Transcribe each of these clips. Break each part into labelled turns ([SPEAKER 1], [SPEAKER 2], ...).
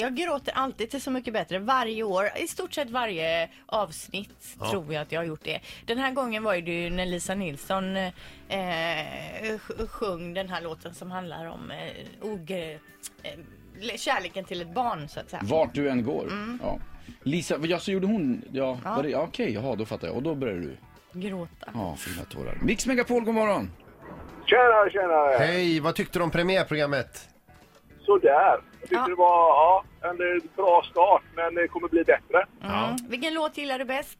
[SPEAKER 1] Jag gråter alltid till Så mycket bättre varje år. I stort sett varje avsnitt tror jag att jag har gjort det. Den här gången var ju det ju när Lisa Nilsson eh, sj- sjöng den här låten som handlar om eh, ogre, eh, kärleken till ett barn så att säga.
[SPEAKER 2] Vart du än går. Ja. Lisa, ja, så gjorde hon... Ja, var det- ja. okej, jaha, då fattar jag. Och då började du.
[SPEAKER 1] Gråta.
[SPEAKER 2] Ja, fina tårar. Mix Megapol, god morgon!
[SPEAKER 3] Tjena, tjena!
[SPEAKER 4] Hej, vad tyckte du om premiärprogrammet?
[SPEAKER 3] Sådär. Jag tyckte
[SPEAKER 1] Ja.
[SPEAKER 3] det var ja, en eh, bra start, men det kommer bli bättre.
[SPEAKER 4] Ja.
[SPEAKER 1] Mm. Vilken låt gillar du bäst?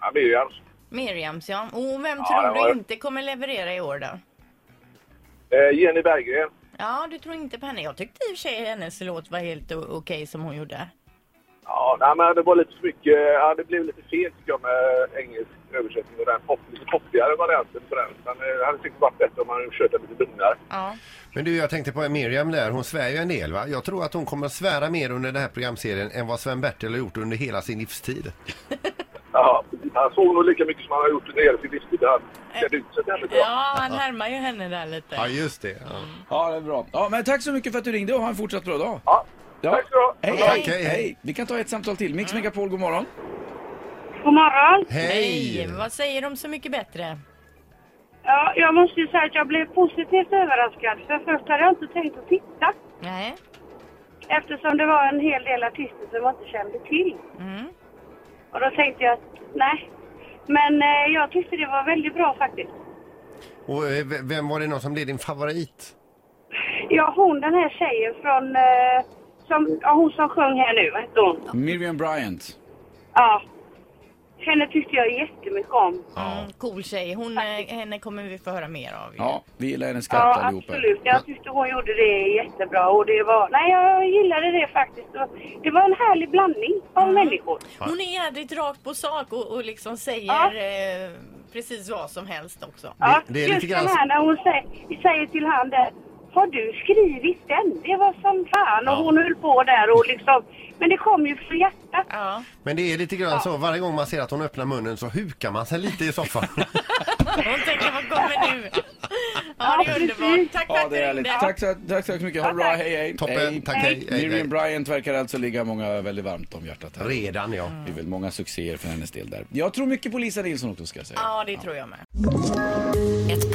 [SPEAKER 3] Ja, men det är ju- alltså,
[SPEAKER 1] Miriams ja. Och Oh, vem
[SPEAKER 3] Ja,
[SPEAKER 1] tror
[SPEAKER 3] det var-
[SPEAKER 1] du inte kommer leverera i år då?
[SPEAKER 3] Eh, Jenny Berggren.
[SPEAKER 1] Ja, du tror inte på henne. Jag tyckte i och för sig hennes låt var helt o- okej som hon gjorde.
[SPEAKER 3] Ja, nej, men det var lite för mycket. Ja, det blev lite fel tycker jag med engelsk översättning och den pop, lite poppigare varianten på den. Men eh, det hade säkert varit bättre om man hade kört den lite lugnare.
[SPEAKER 1] Ja.
[SPEAKER 4] Men du, jag tänkte på Miriam där. Hon svär ju en del va? Jag tror att hon kommer att svära mer under den här programserien än vad Sven-Bertil har gjort under hela sin livstid.
[SPEAKER 3] Ja, han såg nog lika mycket som han har gjort under hela sin livstid. Han klädde ut sig lite bra.
[SPEAKER 1] Eh. Ja, han närmar ju henne där lite.
[SPEAKER 4] just det.
[SPEAKER 2] Ja, det är bra. Ja, men tack så mycket för att du ringde och ha en fortsatt bra dag.
[SPEAKER 3] Ja.
[SPEAKER 2] Ja.
[SPEAKER 3] Tack så bra.
[SPEAKER 2] Hej,
[SPEAKER 4] Tack,
[SPEAKER 2] hej, hej,
[SPEAKER 4] hej, hej.
[SPEAKER 2] Vi kan ta ett samtal till. Mix Megapol, god morgon.
[SPEAKER 5] God morgon.
[SPEAKER 4] Hej!
[SPEAKER 1] Nej, vad säger de så mycket bättre?
[SPEAKER 5] Ja, jag måste ju säga att jag blev positivt överraskad. För först hade jag inte tänkt att titta.
[SPEAKER 1] Nej.
[SPEAKER 5] Eftersom det var en hel del artister som jag inte kände till.
[SPEAKER 1] Mm.
[SPEAKER 5] Och då tänkte jag att nej. Men eh, jag tyckte det var väldigt bra faktiskt.
[SPEAKER 4] Och eh, v- vem var det någon som blev din favorit?
[SPEAKER 5] Ja, hon den här tjejen från... Eh, som, ja, hon som sjöng här nu, vad hette hon?
[SPEAKER 2] Miriam Bryant.
[SPEAKER 5] Ja. Henne tyckte jag jättemycket om.
[SPEAKER 1] Mm, cool tjej. Hon, eh, henne kommer vi få höra mer av. ju.
[SPEAKER 2] Ja, vi gillar henne skarpt
[SPEAKER 5] Ja,
[SPEAKER 2] allihopa.
[SPEAKER 5] absolut. Jag tyckte hon gjorde det jättebra. Och det var... Nej, jag gillade det faktiskt. Det var en härlig blandning av människor.
[SPEAKER 1] Hon är jädrigt rakt på sak och, och liksom säger
[SPEAKER 5] Ja.
[SPEAKER 1] eh, precis vad som helst också.
[SPEAKER 5] Ja,
[SPEAKER 4] Det- det är
[SPEAKER 5] just
[SPEAKER 4] lite grann
[SPEAKER 5] den här när hon säger, säger till han där, har du skrivit den? Det var som fan. Och hon höll på där och liksom, men det kom ju från hjärtat.
[SPEAKER 1] Ja.
[SPEAKER 4] Men det är lite grann så, varje gång man ser att hon öppnar munnen så hukar man sig lite i soffan.
[SPEAKER 1] Hon tänker, vad kommer nu? Ja, det är underbart. Tack för
[SPEAKER 2] Ja,
[SPEAKER 1] att
[SPEAKER 2] det
[SPEAKER 1] du
[SPEAKER 2] är härligt.
[SPEAKER 1] ringde.
[SPEAKER 2] Tack så, tack så hemskt mycket. Ha det bra. Hej, hej.
[SPEAKER 4] Toppen,
[SPEAKER 2] hej.
[SPEAKER 4] tack hej. hej,
[SPEAKER 2] Miriam
[SPEAKER 4] hej.
[SPEAKER 2] Bryant verkar alltså ligga många väldigt varmt om hjärtat här.
[SPEAKER 4] Redan ja.
[SPEAKER 2] Det är väl många succéer för hennes del där. Jag tror mycket på Lisa Nilsson också ska jag säga.
[SPEAKER 1] Ja, det tror jag med.
[SPEAKER 6] Ett